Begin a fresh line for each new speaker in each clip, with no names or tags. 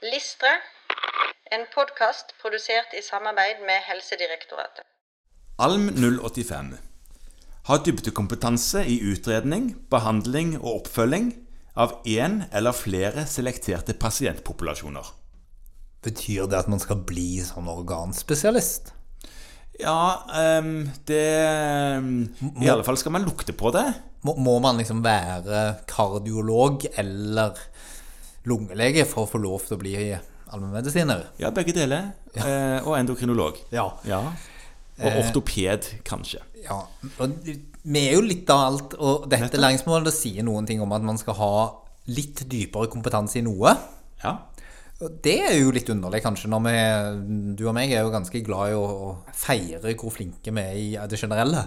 Listre, en podkast produsert i samarbeid med Helsedirektoratet.
Alm 085 har dybdekompetanse i utredning, behandling og oppfølging av én eller flere selekterte pasientpopulasjoner.
Betyr det at man skal bli sånn organspesialist?
Ja, ehm, det I alle fall skal man lukte på det.
Må, må man liksom være kardiolog eller lungelege for å få lov til å bli allmennmedisiner?
Ja, begge deler. Eh, og endokrinolog.
Ja.
Ja. Og ortoped, kanskje.
ja. Og vi er jo litt av alt, og dette læringsmålet sier noen ting om at man skal ha litt dypere kompetanse i noe.
Ja.
Og det er jo litt underlig, kanskje, når vi Du og meg er jo ganske glad i å å feire hvor flinke vi er i det generelle.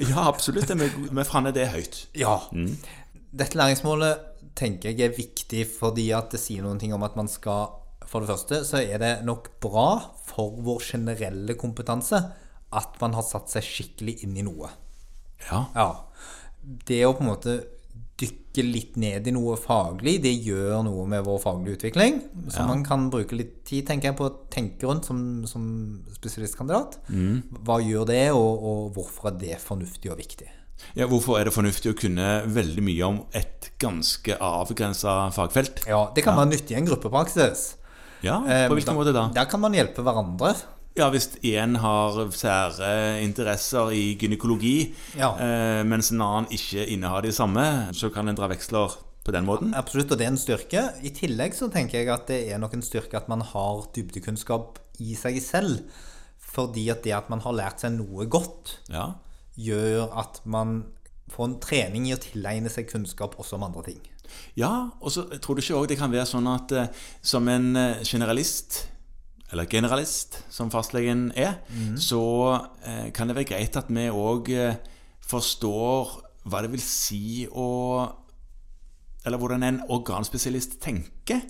Ja, absolutt. Vi, vi faner det høyt.
Ja. Dette læringsmålet tenker jeg er viktig fordi at det sier noen ting om at man skal For det første så er det nok bra for vår generelle kompetanse at man har satt seg skikkelig inn i noe.
Ja.
Ja. Det å på en måte dykke litt ned i noe faglig, det gjør noe med vår faglige utvikling. Så man kan bruke litt tid, tenker jeg, på å tenke rundt som, som spesialistkandidat. Hva gjør det, og, og hvorfor er det fornuftig og viktig?
ja. Hvorfor er det fornuftig å kunne veldig mye om et ganske avgrensa fagfelt?
Ja, det kan være nyttig i en gruppepraksis.
Ja,
Eh,
På hvilken måte da?
Der kan man hjelpe hverandre.
Ja, hvis én har sære interesser i gynekologi,
Ja.
eh, mens en annen ikke innehar de samme, så kan en dra veksler på den måten.
Absolutt, og det er en styrke. I tillegg så tenker jeg at det er nok en styrke at man har dybdekunnskap i seg selv. Fordi at det at man har lært seg noe godt,
Ja.
gjør at man får en trening i å tilegne seg kunnskap også om andre ting.
ja og så tror du ikke òg det kan være sånn at eh, som en eh, generalist eller generalist, som fastlegen er, så eh, kan det være greit at vi òg eh, forstår hva det vil si å Eller hvordan en organspesialist tenker.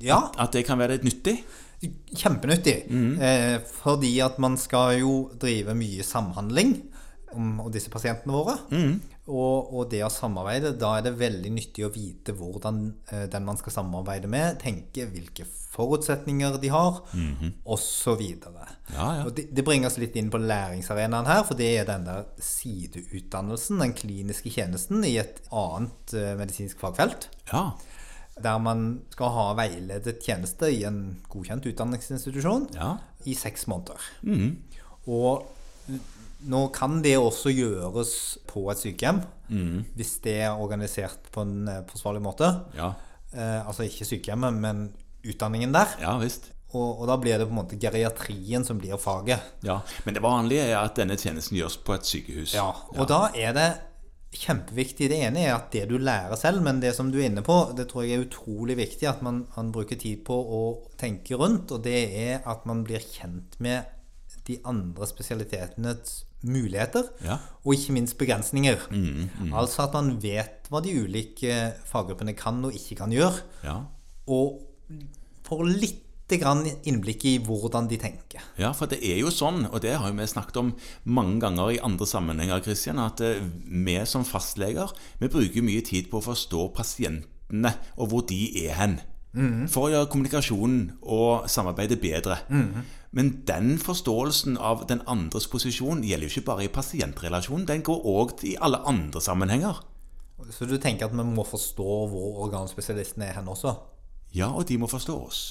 Ja,
At det kan være litt nyttig.
kjempenyttig.
Mm.
Eh, fordi at man skal jo drive mye samhandling om om disse pasientene våre.
Mm.
Og, og det å samarbeide, da er det veldig nyttig å vite hvordan eh, den man skal samarbeide med, tenker, hvilke forutsetninger de har, og så videre.
Mhm. Ja, ja.
Og det, det bringer oss litt inn på læringsarenaen her, for det er den der sideutdannelsen, den kliniske tjenesten i et annet eh, medisinsk fagfelt
Ja.
der man skal ha veiledet tjeneste i en godkjent utdanningsinstitusjon
ja. Mm.
i seks måneder. Og nå kan det også gjøres på et sykehjem, hvis det er organisert på en eh, forsvarlig måte.
Mm. Ja,
Eh, altså ikke sykehjemmet, men utdanningen der.
ja visst.
Og, og da blir det på en måte geriatrien som blir faget.
Ja. Men det vanlige er at denne tjenesten gjøres på et sykehus.
Ja, og da er det kjempeviktig. Det ene er at det du lærer selv, men det som du er inne på, det tror jeg er utrolig viktig at man, man bruker tid på å tenke rundt, og det er at man blir kjent med de andre spesialitetenes muligheter,
Ja.
og ikke minst begrensninger. Altså at man vet hva de ulike faggruppene kan og ikke kan gjøre,
Ja.
og får litt grann innblikk i hvordan de tenker.
Ja, for det er jo sånn, og det har jo vi snakket om mange ganger i andre sammenhenger, Christian, at eh, vi som fastleger vi bruker mye tid på å forstå pasientene og hvor de er hen. For å gjøre kommunikasjonen og samarbeidet bedre. Men den forståelsen av den andres posisjon gjelder jo ikke bare i pasientrelasjonen, den går òg i alle andre sammenhenger.
Så du tenker at vi må forstå hvor organspesialistene er hen også?
Ja, og de må forstå oss.